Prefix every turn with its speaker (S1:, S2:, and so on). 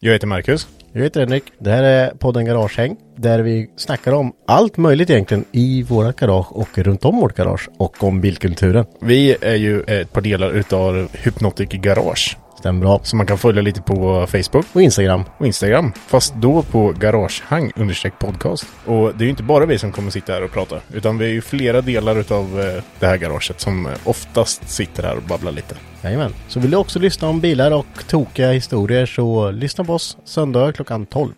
S1: Jag heter Marcus.
S2: Jag heter Henrik. Det här är podden Garagehäng där vi snackar om allt möjligt egentligen i våra garage och runt om vårt garage och om bilkulturen.
S1: Vi är ju ett par delar utav Hypnotic Garage.
S2: Stämmer bra.
S1: Som man kan följa lite på Facebook
S2: Och Instagram.
S1: och Instagram. Fast då på Garagehang understreck podcast. Och det är ju inte bara vi som kommer sitta här och prata. Utan vi är ju flera delar utav eh, det här garaget som eh, oftast sitter här och babblar lite.
S2: Jajamän. Så vill du också lyssna om bilar och tokiga historier så lyssna på oss söndagar klockan 12.